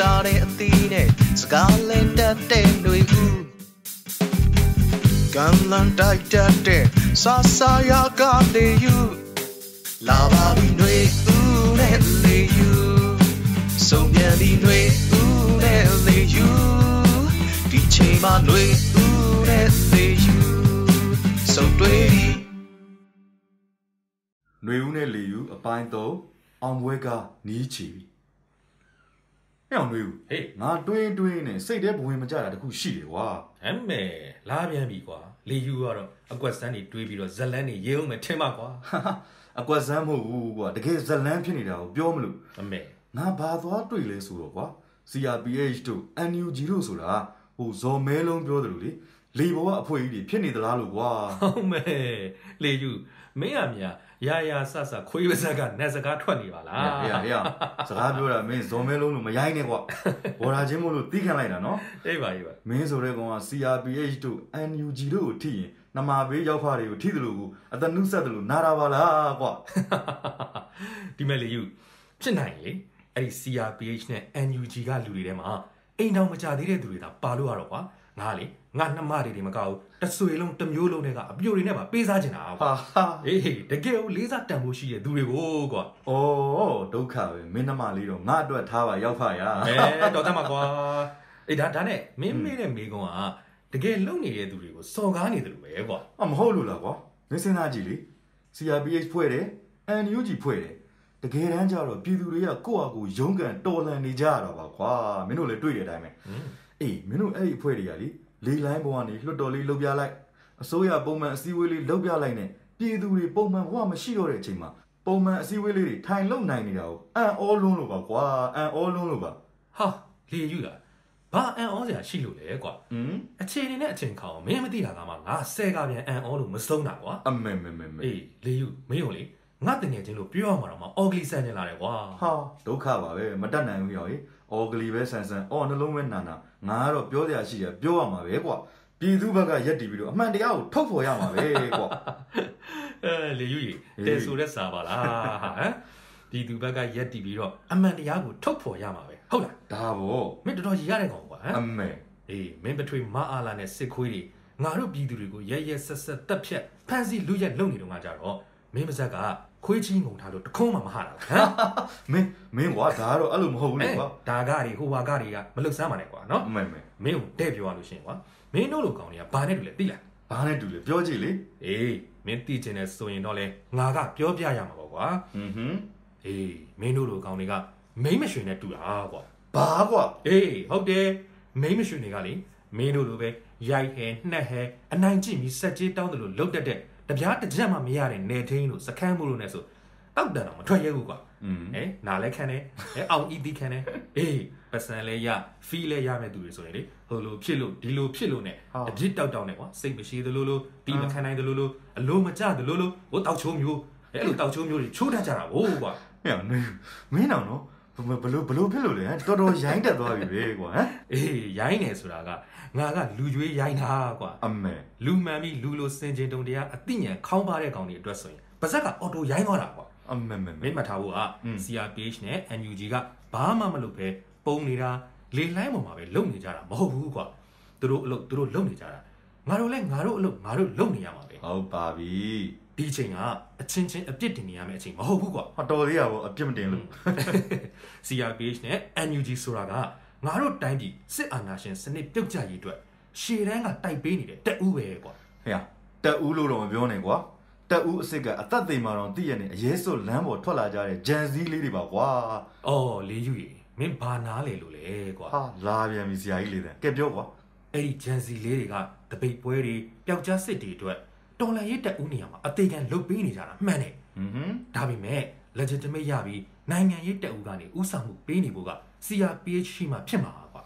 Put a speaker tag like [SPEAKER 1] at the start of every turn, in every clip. [SPEAKER 1] တာတဲ့အသီးနဲ့စကားလင်းတတ်တဲ့ຫນွေဦးကံလန်တိုက်တတ်တဲ့ဆာဆာယာကလေယူလာပါပြီຫນွေဦးနဲ့လေယူဆုံးပြန်ပြီຫນွေဦးနဲ့လေယူဒီချိန်မှာຫນွေဦးနဲ့လေယူဆုံးတွေ့ပြီ
[SPEAKER 2] ຫນွေဦးနဲ့လေယူအပိုင်း၃အောင်ပွဲကနီးချီပြီဟဲ့အောင်ຫນွေဦး
[SPEAKER 3] ဟေး
[SPEAKER 2] ငါတွင်းတွင်းနဲ့စိတ်ထဲဘဝင်မကြတာတခုရှိတယ်ကွာ
[SPEAKER 3] အမေလာပြန်ပြီကွာလေယူကတော့အကွက်စမ်းတွေတွေးပြီးတော့ဇလန်းတွေရေးအောင်မထင်ပါကွာ
[SPEAKER 2] ဟာဟာအကွက်စမ်းမဟုတ်ဘူးကွာတကယ်ဇလန်းဖြစ်နေတာကိုပြောမလို့
[SPEAKER 3] အမေ
[SPEAKER 2] ငါဘာသွားတွေ့လဲဆိုတော့ကွာ CRPH တို့ NUG တို့ဆိုတာဟိုဇော်မဲလုံးပြောတယ်လို့လေလေဘောကအဖွဲ့ကြီးတွေဖြစ်နေသလားလို့ကွာ
[SPEAKER 3] ဟုတ်မေလေယူမင်းအမြရာရာဆဆခွေးပါးစက်ကနတ်စကားထွက်နေပါလား
[SPEAKER 2] ဟေးဟေးစကားပြောတာမင်းဇွန်မဲလုံးလို့မရိုင်းနဲ့ကွာဘော်ဒါချင်းမို့လို့တီးခံလိုက်တာနော်
[SPEAKER 3] အေးပါအေးပါ
[SPEAKER 2] မင်းဆိုတဲ့ကောင်က CRPH တို့ NUG တို့ကိုထိရင်နမဘေးရောက်ဖားတွေကိုထိတယ်လို့ကိုအတနုဆက်တယ်လို့နာတာပါလားကွာ
[SPEAKER 3] ဒီမဲ့လေယူဖြစ်နိုင်လေအဲ့ဒီ CRPH နဲ့ NUG ကလူတွေထဲမှာအိမ်တောင်မကြသေးတဲ့သူတွေဒါပါလို့ရတော့ကွာငါလေငါနှမတွေတွေမကဘူးတစ်ဆွေလုံးတစ်မျိုးလုံးတွေကအပြိုတွေနဲ့ပါပေးစားချင်တာကွာ
[SPEAKER 2] ဟာဟာ
[SPEAKER 3] အေးတကယ်ကိုလေးစားတန်ဖို့ရှိတဲ့သူတွေကိုကွာ
[SPEAKER 2] ဩဒုက္ခပဲမင်းနမလေးတော့ငါအတွက်ထားပါရောက်ဖားရ
[SPEAKER 3] အဲတော်တတ်မှာကွာအေးဒါဒါနဲ့မင်းမေးတဲ့မေးခွန်းကတကယ်လုံနေတဲ့သူတွေကိုစော်ကားနေတယ်လို့ပဲကွာ
[SPEAKER 2] အမဟုတ်လို့လားကွာမင်းစဉ်းစားကြည့်လေ CRPH ဖွဲ့တယ် NUG ဖွဲ့တယ်တကယ်တမ်းကျတော့ပြည်သူတွေကကိုယ့်အကူရုန်းကန်တော်လှန်နေကြရတာပါကွာမင်းတို့လည်းတွေ့ရတဲ့အတိုင်းပဲ
[SPEAKER 3] ဟွန်း
[SPEAKER 2] အေးမင်းတို့အဲ့ဒီအဖွဲ့တွေကလေလေလိုင်းပေါ်ကနေလွှတ်တော်လေးလှုပ်ပြလိုက်အစိုးရပုံမှန်အစည်းအဝေးလေးလှုပ်ပြလိုက်နဲ့ပြည်သူတွေပုံမှန်ဘဝမရှိတော့တဲ့အချိန်မှာပုံမှန်အစည်းအဝေးလေးတွေထိုင်လုံနိုင်နေတာကိုအံ့ဩလွန်းလို့ပါကွာအံ့ဩလွန်းလို့ပါ
[SPEAKER 3] ဟာလေယူတာဘာအံ့ဩစရာရှိလို့လဲကွာ
[SPEAKER 2] ဟင်
[SPEAKER 3] အချိန်နေနဲ့အချိန်ခေါင်မင်းမသိတာကမှငါဆဲကပြန်အန်အောလို့မစုံတာကွာ
[SPEAKER 2] အမေမေမေမေ
[SPEAKER 3] အေးလေယူမင်းတို့လေငါတငယ်ချင်းလို့ပြောရမှာတော့မအော်ဂလီဆန်နေလာတယ်ကွာ
[SPEAKER 2] ဟာဒုက္ခပါပဲမတတ်နိုင်ဘူးရောေအော်ဂလီပဲဆန်ဆန်အော်နှလုံးပဲနာနာငါကတော့ပြောစရာရှိရပြောရမှာပဲကွာပြည်သူဘက်ကရက်တီပြီးတော့အမှန်တရားကိုထုတ်ဖော်ရမှာပဲကွာ
[SPEAKER 3] အဲလေယူကြီး
[SPEAKER 2] အေး
[SPEAKER 3] တဲဆိုတဲ့စာပါလားဟမ်ဒီသူဘက်ကရက်တီပြီးတော့အမှန်တရားကိုထုတ်ဖော်ရမှာပဲဟုတ်လား
[SPEAKER 2] ဒါပေါ့
[SPEAKER 3] မင်းတော်တော်ကြီးရတဲ့ကောင်ကွာဟမ်
[SPEAKER 2] အမေ
[SPEAKER 3] အေးမင်းပထွေမအားလာနဲ့စစ်ခွေးတွေငါတို့ပြည်သူတွေကိုရက်ရက်ဆက်ဆက်တက်ဖြတ်ဖမ်းဆီးလူရက်လုံနေတော့ငါကြတော့မင်းပါဇက်ကခွေးချင်းငုံထားလို့တခုံးမှမဟတာဟမ်
[SPEAKER 2] မင်းမင်းကွာဒါကတော့အဲ့လိုမဟုတ်ဘူးလေ
[SPEAKER 3] အဲ့
[SPEAKER 2] ကွာ
[SPEAKER 3] ဒါကတွေဟိုဘာကတွေကမလုတ်ဆမ်းပါနဲ့ကွာနော်
[SPEAKER 2] အမေမေ
[SPEAKER 3] မင်းကိုတဲ့ပြောရလို့ရှိရင်ကွာမင်းတို့လိုကောင်တွေကဘာနဲ့တူလဲသိလား
[SPEAKER 2] ဘာနဲ့တူလဲပြောကြည့်လေ
[SPEAKER 3] အေးမင်းသိချင်တယ်ဆိုရင်တော့လေငါကပြောပြရမှာပေါ့ကွာ
[SPEAKER 2] ဟွန်းဟွန်း
[SPEAKER 3] အေးမင်းတို့လိုကောင်တွေကမိမ့်မရွှင်နဲ့တူတာကွာ
[SPEAKER 2] ဘာကွာ
[SPEAKER 3] အေးဟုတ်တယ်မိမ့်မရွှင်တွေကလေမင်းတို့လိုပဲရိုက်ဟဲနှက်ဟဲအနိုင်ကျင့်ပြီးစက်ကြီးတောင်းတယ်လို့လုတ်တက်တဲ့တပြားတစ်ချက်မှမရတဲ့နေထင်းလို့စကမ်းမှုလို့နဲ့ဆိုတောက်တန်တော့မထွက်ရဘူးကွာ
[SPEAKER 2] อืม
[SPEAKER 3] ဟဲ့နာလဲခံတယ်ဟဲ့အောင်ဤတီခံတယ်အေးပစံလဲရဖီလဲရမဲ့သူတွေဆိုရင်လေဟိုလိုဖြစ်လို့ဒီလိုဖြစ်လို့ ਨੇ အပြစ်တောက်တောက် ਨੇ ကွာစိတ်မရှိသလိုလိုတီးမခံနိုင်သလိုလိုအလိုမကျသလိုလိုဟိုတောက်ချိုးမျိုးအဲ့လိုတောက်ချိုးမျိုးတွေချိုးတတ်ကြတာဗောကွာ
[SPEAKER 2] ဟဲ့နေမင်းအောင်နော်ဘယ်ဘယ်လိုဘယ်လိုဖြစ်လို့လဲဟမ်တော်တော်ရိုင်းတက်သွားပြီပဲကွာဟမ်
[SPEAKER 3] အေးရိုင်းနေဆိုတာကငါကလူကြွေးရိုင်းတာကွာ
[SPEAKER 2] အမေ
[SPEAKER 3] လူမှန်ပြီးလူလိုစင်ကြင်တုံတရားအသိဉာဏ်ခေါင်းပါတဲ့ကောင်တွေအတွက်ဆိုရင်ပါဇက်ကအော်တိုရိုင်းသွားတာကွာ
[SPEAKER 2] အမေမေ
[SPEAKER 3] မိ
[SPEAKER 2] မေ
[SPEAKER 3] တ်မှတ်ထားဖို့က
[SPEAKER 2] อืม
[SPEAKER 3] CRPH နဲ့ NUG ကဘာမှမလုပ်ပဲပုံနေတာလေလှိုင်းပေါ်မှာပဲလုံနေကြတာမဟုတ်ဘူးကွာသူတို့အလုပ်သူတို့လုံနေကြတာငါတို့လည်းငါတို့အလုပ်ငါတို့လုံနေရမှာပဲ
[SPEAKER 2] ဟုတ်ပါပြီ
[SPEAKER 3] ဒီအချိန်ကအချင်းချင်းအပြစ်တင်နေရမယ့်အချိန်မဟုတ်ဘူးကွာ
[SPEAKER 2] ဟောတော်သေးရပေါ့အပြစ်မတင်လို့
[SPEAKER 3] CRPH နဲ့ NUG ဆိုတာကငါတို့တိုင်းပြည်စစ်အာဏာရှင်စနစ်ပြုတ်ကျရေးအတွက်ရှေ့တန်းကတိုက်ပေးနေတဲ့တက်ဦးပဲကွာ
[SPEAKER 2] ဟဲ့တက်ဦးလို့တော့မပြောနဲ့ကွာတက်ဦးအစ်စ်ကအသက်သေးမှတော့တည့်ရနေအရေးစွလမ်းပေါ်ထွက်လာကြတဲ့ဂျန်စည်းလေးတွေပါကွာ
[SPEAKER 3] အော်လေးယူရေမင်းဘာနားလေလို့လဲကွာ
[SPEAKER 2] ဟာလာပြန်ပြီဆရာကြီးလေးတဲ့ကဲပြောကွာ
[SPEAKER 3] အဲ့ဒီဂျန်စီလေးတွေကတပိတ်ပွဲတွေပျောက်ကြားစစ်တွေအတွက်တော်လန်ရေးတက်ဦးနေရာမှာအသေးခံလုတ်ပေးနေကြတာမှန်တယ်
[SPEAKER 2] ဟွန်းဟွန်း
[SPEAKER 3] ဒါပေမဲ့ legitimate ရပြီးနိုင်ငံရေးတက်ဦးကနေဥဆောင်မှုပေးနေဖို့က CRPH ရှိမှဖြစ်မှာကွာ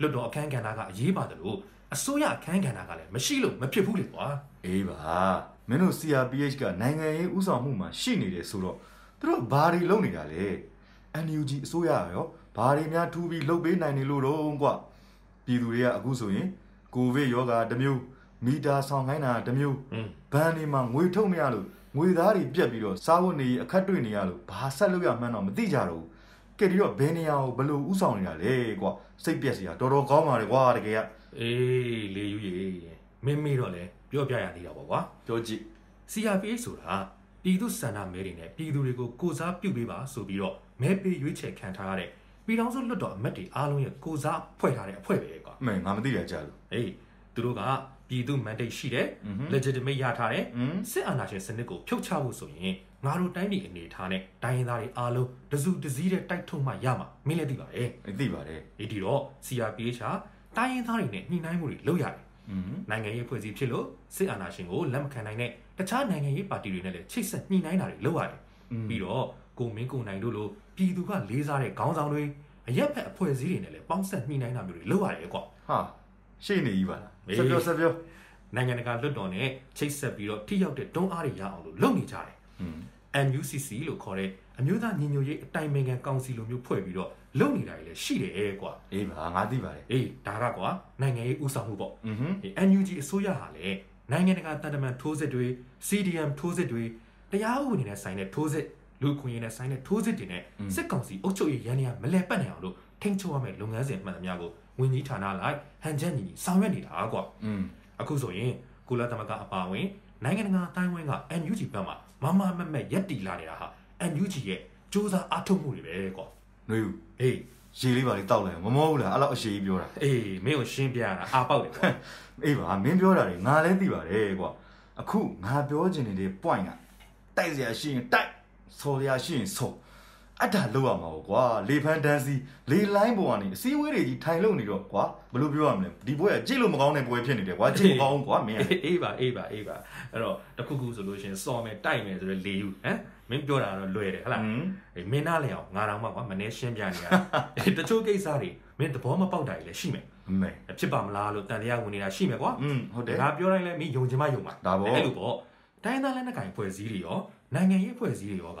[SPEAKER 3] လွတ်တော်အခမ်းကဏ္ဍကအရေးပါတယ်လို့အစိုးရအခမ်းကဏ္ဍကလည်းမရှိလို့မဖြစ်ဘူးလေကွာ
[SPEAKER 2] အေးပါမင်းတို့ CRPH ကနိုင်ငံရေးဥဆောင်မှုမှာရှိနေတယ်ဆိုတော့သူတို့ဘာတွေလုပ်နေတာလဲ NUG အစိုးရရောဘာတွေများထူးပြီးလုပ်ပေးနိုင်နေလို့တော့ကွာပြည်သူတွေကအခုဆိုရင်ကိုဗစ်ရောဂါတစ်မျိုးမီတာဆောင်ခိုင်းတာတစ်မျိုး
[SPEAKER 3] อืม
[SPEAKER 2] ဘဏ်တွေမှာငွေထုတ်မရလို့ငွေသားတွေပြက်ပြီးတော့စားဝတ်နေရေးအခက်တွေ့နေရလို့ဘာဆက်လုပ်ရမှန်းတော့မသိကြတော့ဘူး ကဲဒီတော့ဘယ်နေရာကိုဘယ်လိုဥဆောင်နေတာလဲကွာစိတ်ပြက်စရာတော်တော်ကောင်းပါတယ်ကွာတကယ်က
[SPEAKER 3] အေးလေယူရေမင်းမေးတော့လဲပြောပြရသေးတာပေါ့ကွာ
[SPEAKER 2] ပြောကြည့်
[SPEAKER 3] CRPH ဆိုတာပြည်သူစန္ဒမဲတွေနဲ့ပြည်သူတွေကိုကိုစားပြုပေးပါဆိုပြီးတော့မဲပေးရွေးချယ်ခံထားရတဲ့ပြည်ထောင်စုလွှတ်တော်အမတ်တွေအားလုံးရဲ့ကိုစားဖွဲ့ထားတဲ့အဖွဲ့ပဲကွာ
[SPEAKER 2] အမေငါမသိရကြလို့
[SPEAKER 3] ဟေးသူတို့ကပြည်သူ mandate ရှိတယ်
[SPEAKER 2] อือฮึ
[SPEAKER 3] legitimate ရထားတယ်
[SPEAKER 2] อืม
[SPEAKER 3] စစ်အာဏာရှင်စနစ်ကိုဖြုတ်ချဖို့ဆိုရင်ငါတို့တိုင်းပြည်အနေထားနဲ့တိုင်းရင်းသားတွေအားလုံးတစုတစည်းတဲ့တိုက်ထုတ်မှရမှာမင်းလည်းသိပါတယ်
[SPEAKER 2] အသိပါတယ်
[SPEAKER 3] အေးဒီတော့ CRPH ဟာတိုင်းရင်းသားတွေနဲ့ညှိနှိုင်းမှုတွေလုပ်ရတယ်
[SPEAKER 2] อืม
[SPEAKER 3] နိုင်ငံရေးဖွဲ့စည်းဖြစ်လို့စစ်အာဏာရှင်ကိုလက်မခံနိုင်တဲ့တခြားနိုင်ငံရေးပါတီတွေနဲ့လည်းချိတ်ဆက်ညှိနှိုင်းတာတွေလုပ်ရတယ်ပြီးတော့ကိုမင်းကိုနိုင်တို့လိုပြည်သူကလေးစားတဲ့ခေါင်းဆောင်တွေအရက်ဖက်အဖွဲ့အစည်းတွေနဲ့လည်းပေါင်းဆက်ညှိနှိုင်းတာမျိုးတွေလုပ်ရတယ်ကွာ
[SPEAKER 2] ဟာရှေ့နေကြီးပါ
[SPEAKER 3] အေး
[SPEAKER 2] လားဆက်ပြောဆက်ပြော
[SPEAKER 3] နိုင်ငံတကာလွှတ်တော်နဲ့ချိတ်ဆက်ပြီးတော့ထိရောက်တဲ့တွန်းအားတွေရအောင်လို့လုပ်နေကြတယ်
[SPEAKER 2] อืม
[SPEAKER 3] NUCC လို့ခေါ်တဲ့အမျိုးသားညီညွတ်ရေးအတိုင်ပင်ခံကောင်စီလိုမျိုးဖွဲ့ပြီးတော့လုပ်နေတာတွေလည်းရှိတယ်ကွာ
[SPEAKER 2] အေးပါငါသိပါတယ်
[SPEAKER 3] အေးဒါကကွာနိုင်ငံရေးဦးဆောင်မှုပေါ့
[SPEAKER 2] อืมဟွန်း
[SPEAKER 3] အေး NUG အစိုးရဟာလည်းနိုင်ငံတကာတန်တမန်ထိုးစစ်တွေ CDM ထိုးစစ်တွေတရားဥပဒေနဲ့ဆိုင်တဲ့ထိုးစစ်လူခွင့်ရေးနဲ့ဆိုင်တဲ့ထိုးစစ်တွေနဲ့စစ်ကောင်စီအုပ်ချုပ်ရေးရန်ရာမလဲပတ်နိုင်အောင်လို့ထိန်းချုပ်ရမယ့်လုပ်ငန်းစဉ်မှန်သမျှကိုဝန်ကြီးဌာနလိုက်ဟန်ချက်ညီညီဆောင်ရွက်နေတာကွာ
[SPEAKER 2] อืม
[SPEAKER 3] အခုဆိုရင်ကုလသမဂ္ဂအပါအဝင်နိုင်ငံတကာအတိုင်းအဝိုင်းက NUG ဘက်မှမမမမက်ရက်တီလာနေတာဟာ NUG ရဲ့စ조사အားထုတ်မှုတွေပဲကွာ
[SPEAKER 2] နွေဦး
[SPEAKER 3] အေး
[SPEAKER 2] ရေလေးပါလေးတောက်လိုက်မမောဘူးလားအဲ့လောက်အရှိကြီးပြောတာ
[SPEAKER 3] အေးမင်းကိုရှင်းပြရတာအာပေါက်တယ်ကွာ
[SPEAKER 2] အေးပါမင်းပြောတာတွေငါလည်းသိပါတယ်ကွာအခုငါပြောချင်နေတဲ့ point ကတိုက်စရာရှိရင်တိုက်ဆော်စရာရှိရင်ဆော်အတားလောက်ရမှာပေါ့ကွာလေဖန်တန်းစီလေလိုင်းပေါ်ကနေအစည်းအဝေးတွေကြီးထိုင်လို့နေတော့ကွာဘယ်လိုပြောရမလဲဒီပွဲကကြည့်လို့မကောင်းတဲ့ပွဲဖြစ်နေတယ်ကွာကြည့်မကောင်းဘူးကွာမင်းက
[SPEAKER 3] အေးအေးပါအေးပါအေးပါအဲ့တော့တစ်ခုခုဆိုလို့ရှရင်စော်မယ်တိုက်မယ်ဆိုရယ်လေယူဟမ်မင်းပြောတာကတော့လွယ်တယ်ဟုတ်လား
[SPEAKER 2] อืม
[SPEAKER 3] အေးမင်းနားလေအောင်ငါတောင်မှကွာမနေရှင်းပြနေရတာအေးတချို့ကိစ္စတွေမင်းသဘောမပေါက်တာတွေလည်းရှိမယ်
[SPEAKER 2] အမေ
[SPEAKER 3] ဖြစ်ပါမလားလို့တန်တရားဝင်နေတာရှိမယ်ကွာ
[SPEAKER 2] อืมဟုတ်တယ်
[SPEAKER 3] ငါပြောတိုင်းလဲမင်းယုံချင်မှယုံမှာ
[SPEAKER 2] ဒါပေါ့
[SPEAKER 3] အဲ့လိုပေါ့တိုင်းသားလက်နက်ကိုင်ဖွဲ့စည်းတွေရောနိုင်ငံရေးဖွဲ့စည်းတွေရောက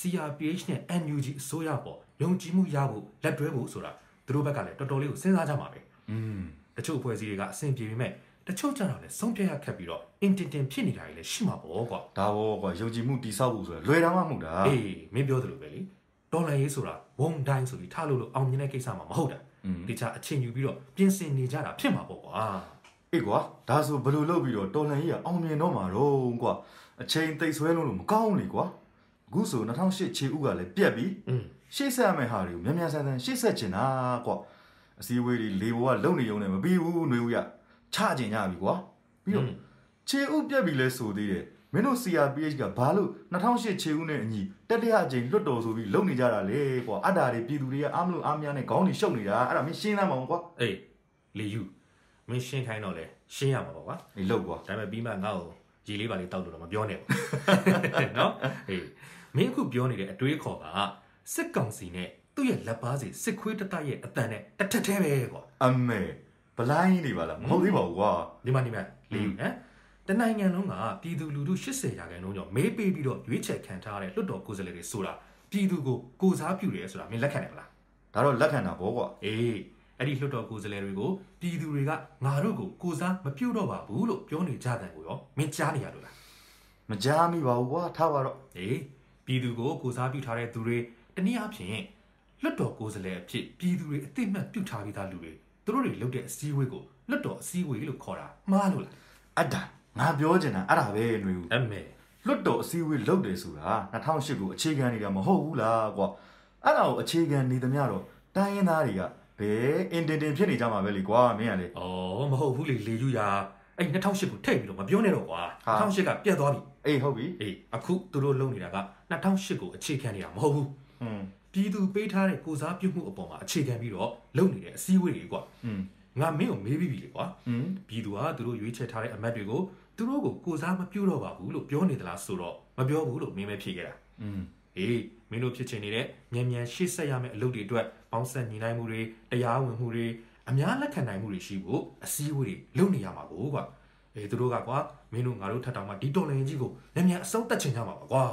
[SPEAKER 3] CRPH နဲ့ NUG အစိုးရပေါ့ယုံကြည်မှုရဖို့လက်တွဲဖို့ဆိုတာသူတို့ဘက်ကလည်းတော်တော်လေးကိုစဉ်းစားကြမှာပဲ
[SPEAKER 2] อืม
[SPEAKER 3] တချို့အဖွဲ့စည်းတွေကအဆင်ပြေပေမဲ့တချို့ကျတော့လည်းဆုံးဖြတ်ရခက်ပြီးတော့အင်တင်တင်ဖြစ်နေတာတွေလည်းရှိမှာပေါ့ကွာ
[SPEAKER 2] ဒါဘောကွာယုံကြည်မှုတိဆောက်ဖို့ဆိုတာလွယ်တာမှမဟုတ်တာ
[SPEAKER 3] အေးမင်းပြောသလိုပဲလေဒေါ်လာရေးဆိုတာဝန်တိုင်းဆိုပြီးထားလို့လို့အောင်မြင်တဲ့ကိစ္စမှာမဟုတ်တာ
[SPEAKER 2] อืม
[SPEAKER 3] ဒီချအချိန်ယူပြီးတော့ပြင်ဆင်နေကြတာဖြစ်မှာပေါ့ကွာ
[SPEAKER 2] အေးကွာဒါဆိုဘယ်လိုလုပ်ပြီးတော့တော်လန်ကြီးကအောင်မြင်တော့မှာတော့ကွာအချိန်တိတ်ဆွဲလုံးလို့မကောင်းဘူးလေကွာအခုဆို2008ခြေဥကလည်းပြက်ပြီ
[SPEAKER 3] อืม
[SPEAKER 2] ရှေ့ဆက်ရမယ့်ဟာတွေကိုမြန်မြန်ဆန်ဆန်ရှေ့ဆက်ချင်တာကွာအစည်းအဝေးတွေလေဘောကလုံနေုံနဲ့မပြီးဘူးနှွေဦးရချကျင်ကြပြီကွာပြီး
[SPEAKER 3] อื
[SPEAKER 2] တော့
[SPEAKER 3] ม
[SPEAKER 2] ခြေဥပြက်ပြီလဲဆိုသေးတယ်မင်းတို့ CRPH ကဘာလို့2008ခြေဥနဲ့အညီတက်တရအချိန်လွတ်တော်ဆိုပြီးလုံနေကြတာလဲကွာအတ္တာတွေပြည်သူတွေကအားမလို့အားမရနဲ့ခေါင်းတွေရှုပ်နေတာအဲ့ဒါမင်းရှင်းလမ်းမအောင်ကွာ
[SPEAKER 3] အေးလေယူမင်းရှင်းခိုင်းတော့လဲရှင်းရမှာပေါ့ကွာ
[SPEAKER 2] ဒီလောက်ကွာ
[SPEAKER 3] ဒါပေမဲ့ပြီးမှငါ့ကိုရေလေးပါလေးတောက်လို့တော့မပြောနဲ့ဘူး เนาะဟေးမင်းအခုပြောနေတဲ့အတွေးခေါ်ကစစ်ကောင်စီနဲ့သူ့ရဲ့လက်ပါစီစစ်ခွေးတတရဲ့အတန်နဲ့တထက်သေးပဲကွာ
[SPEAKER 2] အမေဘလိုင်းနေပါလားမဟုတ်သေးပါဘူးကွာ
[SPEAKER 3] ဒီမှာဒီမှာလေဟမ်တနိုင်ငံလုံးကပြည်သူလူထု80ရာခိုင်နှုန်းကျော်မေးပေးပြီးတော့ရွေးချယ်ခံထားရတဲ့လွှတ်တော်ကိုယ်စားလှယ်တွေဆိုတာပြည်သူကိုကိုစားပြုတယ်ဆိုတာမင်းလက်ခံတယ်မလား
[SPEAKER 2] ဒါတော့လက်ခံတာဗောကွာ
[SPEAKER 3] အေးအဲ့ဒီလွှတ်တော်ကိုယ်စားလှယ်တွေကိုပြည်သူတွေကငါတို့ကိုကိုစားမပြုတ်တော့ပါဘူးလို့ပြောနေကြတဲ့ကိုရောမင်းကြားနေရလို့လား
[SPEAKER 2] မကြားမိပါဘူးကွာထားပါတော့
[SPEAKER 3] ေပြည်သူကိုကိုစားပြုထားတဲ့သူတွေတနည်းအားဖြင့်လွတ်တော်ကိုယ်စားလှယ်အဖြစ်ပြည်သူတွေအသိအမှတ်ပြုထားပြီးသားလူတွေသူတို့တွေလုပ်တဲ့အစည်းအဝေးကိုလွတ်တော်အစည်းအဝေးလို့ခေါ်တာမှားလို့လား
[SPEAKER 2] အဒါငါပြောချင်တာအဲ့ဒါပဲຫນွေဦး
[SPEAKER 3] အမေ
[SPEAKER 2] လွတ်တော်အစည်းအဝေးလုပ်တယ်ဆိုတာ2008ကိုအခြေခံနေတာမဟုတ်ဘူးလားကွာအဲ့ဒါကိုအခြေခံနေသမျှတော့တိုင်းရင်းသားတွေကဘယ်အင်တင်တင်ဖြစ်နေကြမှာပဲလေကွာမင်းကလေ
[SPEAKER 3] ဩမဟုတ်ဘူးလေလေယူရာအဲ့2008ကိုထည့်ပြီးတော့မပြောနဲ့တော့ကွာ
[SPEAKER 2] ဟာ
[SPEAKER 3] 2008ကပြတ်သွားပြီ
[SPEAKER 2] အေးဟုတ်ပြီ
[SPEAKER 3] အေးအခုသူတို့လုပ်နေတာက2008ကိုအခြေခံနေတာမဟုတ်ဘူး
[SPEAKER 2] ဟွန်း
[SPEAKER 3] ပြည်သူပေးထားတဲ့ကိုစားပြုမှုအပေါ်မှာအခြေခံပြီးတော့လုပ်နေတဲ့အစည်းအဝေးတွေကွာ
[SPEAKER 2] ဟွန်း
[SPEAKER 3] ငါမင်းကိုမေးပြီးပြီလေကွာ
[SPEAKER 2] ဟွန်း
[SPEAKER 3] ပြည်သူဟာသူတို့ရွေးချယ်ထားတဲ့အမတ်တွေကိုသူတို့ကိုကိုစားမပြုတော့ပါဘူးလို့ပြောနေသလားဆိုတော့မပြောဘူးလို့မင်းပဲဖြေခဲ့တာ
[SPEAKER 2] ဟွန်း
[SPEAKER 3] ဟေးမင်းတို့ဖြစ်ချင်နေတဲ့မြန်မြန်ရှေ့ဆက်ရမယ့်အလုပ်တွေအတွက်ပေါင်းဆက်ညီနိုင်မှုတွေတရားဝင်မှုတွေအများလက်ခံနိုင်မှုတွေရှိဖို့အစည်းအဝေးတွေလုပ်နေရမှာကိုကွာအေးသူတို့ကကွာမင်းတို့ငါတို့ထပ်တောင်မှဒီတော်လိုင်းကြီးကိုမြန်မြန်အဆုံးသတ်ချင်ကြမှာပါကွာ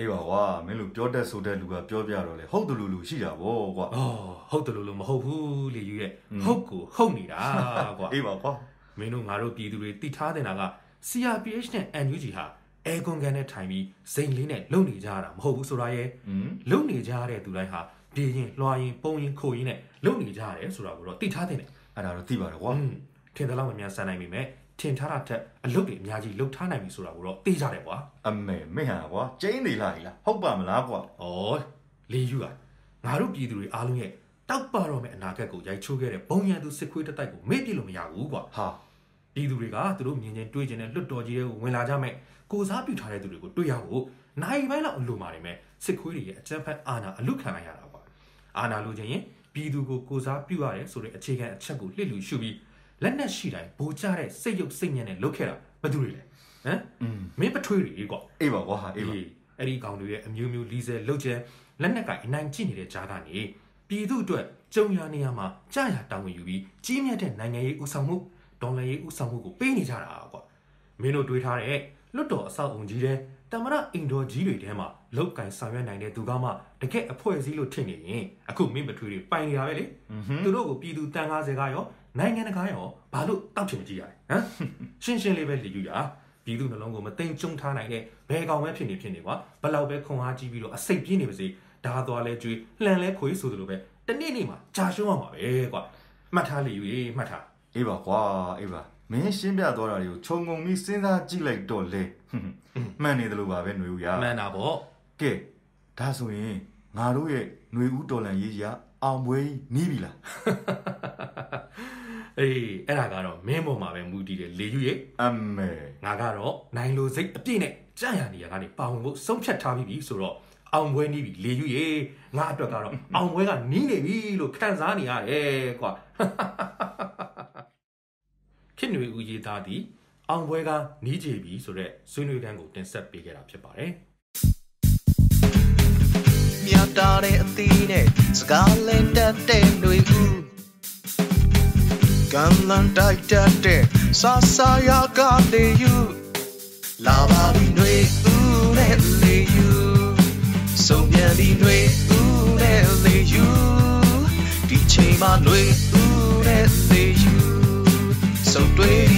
[SPEAKER 2] အေးပါကွာမင်းလူပြောတတ်ဆိုတဲ့လူကပြောပြတော့လေဟုတ်တယ်လူလူရှိတာဗောကွာ
[SPEAKER 3] အော်ဟုတ်တယ်လို့လို့မဟုတ်ဘူးလေယူရဲ့ဟုတ်ကိုဟုတ်နေတာကွာ
[SPEAKER 2] အေးပါကွာ
[SPEAKER 3] မင်းတို့ငါတို့ပြည်သူတွေတိထားတင်တာက CRPH နဲ့ NUG ဟာအဲကွန်ကန်နဲ့ထိုင်ပြီးစိန်လေးနဲ့လုံနေကြတာမဟုတ်ဘူးဆိုတာရဲ့
[SPEAKER 2] ဟွန်း
[SPEAKER 3] လုံနေကြတဲ့သူတိုင်းဟာ ဒေရင်လွှာရင်ပုံရင်ခိုရင်နဲ့လုံနေကြရတယ်ဆိုတာကိုတော့သိထားတဲ့နဲ့
[SPEAKER 2] အဲ့ဒါတော့သိပါတယ်ကွာ
[SPEAKER 3] อืมထင်သလောက်မများဆန်းနိုင်ပြီမဲ့ထင်ထားတာထက်အလုပ်တွေအများကြီးလှုပ်ထားနိုင်ပြီဆိုတာကိုတော့သိကြတယ်ကွာ
[SPEAKER 2] အမေမင်းဟာကွာကျင်းနေလားဒီလားဟုတ်ပါမလားကွာ
[SPEAKER 3] ဩလေယူอ่ะငါတို့ပြည်သူတွေအားလုံးရဲ့တောက်ပါတော့မဲ့အနာဂတ်ကိုရိုက်ချိုးခဲ့တဲ့ဘုံရန်သူစစ်ခွေးတစ်တိုက်ကိုမေ့ပြစ်လို့မရဘူးကွာ
[SPEAKER 2] ဟာ
[SPEAKER 3] ဒီသူတွေကသူတို့မြင်ချင်းတွေးချင်းနဲ့လွတ်တော်ကြီးတွေကိုဝင်လာကြမဲ့ကိုစားပြုထားတဲ့သူတွေကိုတွေးရဖို့နိုင်ပိုင်းလောက်အလိုမာနေမဲ့စစ်ခွေးတွေရဲ့အကြမ်းဖက်အာဏာအလုခံလိုက်ရတာပါအာဏာလိုချင်ရင်ပြည်သူကိုကိုစားပြုရတယ်ဆိုတဲ့အခြေခံအချက်ကိုလှစ်လူရှုပြီးလက်နက်ရှိတိုင်းဗိုလ်ချတဲ့စိတ်ရုပ်စိတ်ညံနဲ့လုတ်ခဲ့တာဘယ်သူတွေလဲဟမ်
[SPEAKER 2] อืม
[SPEAKER 3] မင်းပထွေးတွေကွာ
[SPEAKER 2] အေးပါကွာဟာအေးပါ
[SPEAKER 3] အေးအဲ့ဒီကောင်တွေရဲ့အမျိုးမျိုးလီဆယ်လှုပ်ချဲလက်နက်ကင်အနိုင်ကျင့်နေတဲ့ကြားကနေပြည်သူအတွက်ကြုံရနေရမှာကြာရတောင်းဝင်ယူပြီးကြီးမြတ်တဲ့နိုင်ငံရေးဦးဆောင်မှုဒေါ်လာရေးဦးဆောင်မှုကိုပေးနေကြတာကွာမင်းတို့တွေးထားတဲ့လွတ်တော်အဆောက်အုံကြီးတဲ့တမရအင်ဒေါ်ကြီးတွေထဲမှာလောက်ကင်ဆောင်ရွက်နိုင်တဲ့သူကမှတကယ်အဖွဲ့အစည်းလို့ထင်နေရင်အခုမင်းမထွေးတွေပိုင်နေတာပဲလေ
[SPEAKER 2] อืมဟွန်း
[SPEAKER 3] သူတို့ကိုပြည်သူတန်50ကရောနိုင်ငံတကာရောဘာလို့တောက်ချင်မကြည့်ရလဲဟမ် ရှင်းရှင်းလေးပဲလည်ယူရပြည်သူနှလုံးကိုမသိမ်ကျုံထားနိုင်တဲ့ဘယ်ကောင်ပဲဖြစ်နေဖြစ်နေကွာဘယ်လောက်ပဲခွန်အားကြီးပြီးတော့အစိတ်ပြင်းနေပါစေဒါသွားလဲကြွေးလှန်လဲခွေးဆိုသလိုပဲတနေ့နေ့မှာကြာရှုံးရမှာပဲကွာမှတ်ထားလည်ယူရေမှတ်ထား
[SPEAKER 2] အေးပါကွာအေးပါမင်းရှင်းပြသွားတာတွေကိုခြုံငုံပြီးစဉ်းစားကြည့်လိုက်တော့လေဟွန်းဟွန်းမှန်နေတယ်လို့ပါပဲຫນွေဦးရာ
[SPEAKER 3] အမှန်တာပေါ့
[SPEAKER 2] ကဲဒါဆိုရင်ငါတို့ရဲ့ຫນွေဦးတော်လန်ရေးကြီးကအောင်ပွဲကြီးနီးပြီလား
[SPEAKER 3] အေးအဲ့ဒါကတော့မင်းပေါ်မှာပဲမူတည်တယ်လည်ယူရေ
[SPEAKER 2] အမေ
[SPEAKER 3] ငါကတော့နိုင်လိုစိတ်အပြည့်နဲ့ကြာရနေရကနေပါဝင်ဖို့ဆုံးဖြတ်ထားပြီးပြီဆိုတော့အောင်ပွဲနီးပြီလေယူရေငါအတွက်ကတော့အောင်ပွဲကနီးနေပြီလို့ခံစားနေရတယ်ကွာ ခင်နွေဦးရေးသားသည့်အောင်ပွဲကနီးကြပြီဆိုတော့ဆွေးနွေးခန်းကိုတင်ဆက်ပေးခဲ့တာဖြစ်ပါတယ်
[SPEAKER 1] မြတ်တာတဲ့အသီးနဲ့စကားလင်းတတ်တဲ့တွေကူကံလန်တိုက်တတ်တဲ့ဆာဆာယာကလေးယူလာပါပြီတွေဦးနဲ့လေးယူဆုံးပြန်ပြီတွေဦးနဲ့လေးယူဒီချိန်မှာတွေဦးနဲ့လေးယူဆုံးတွေ့ပြီ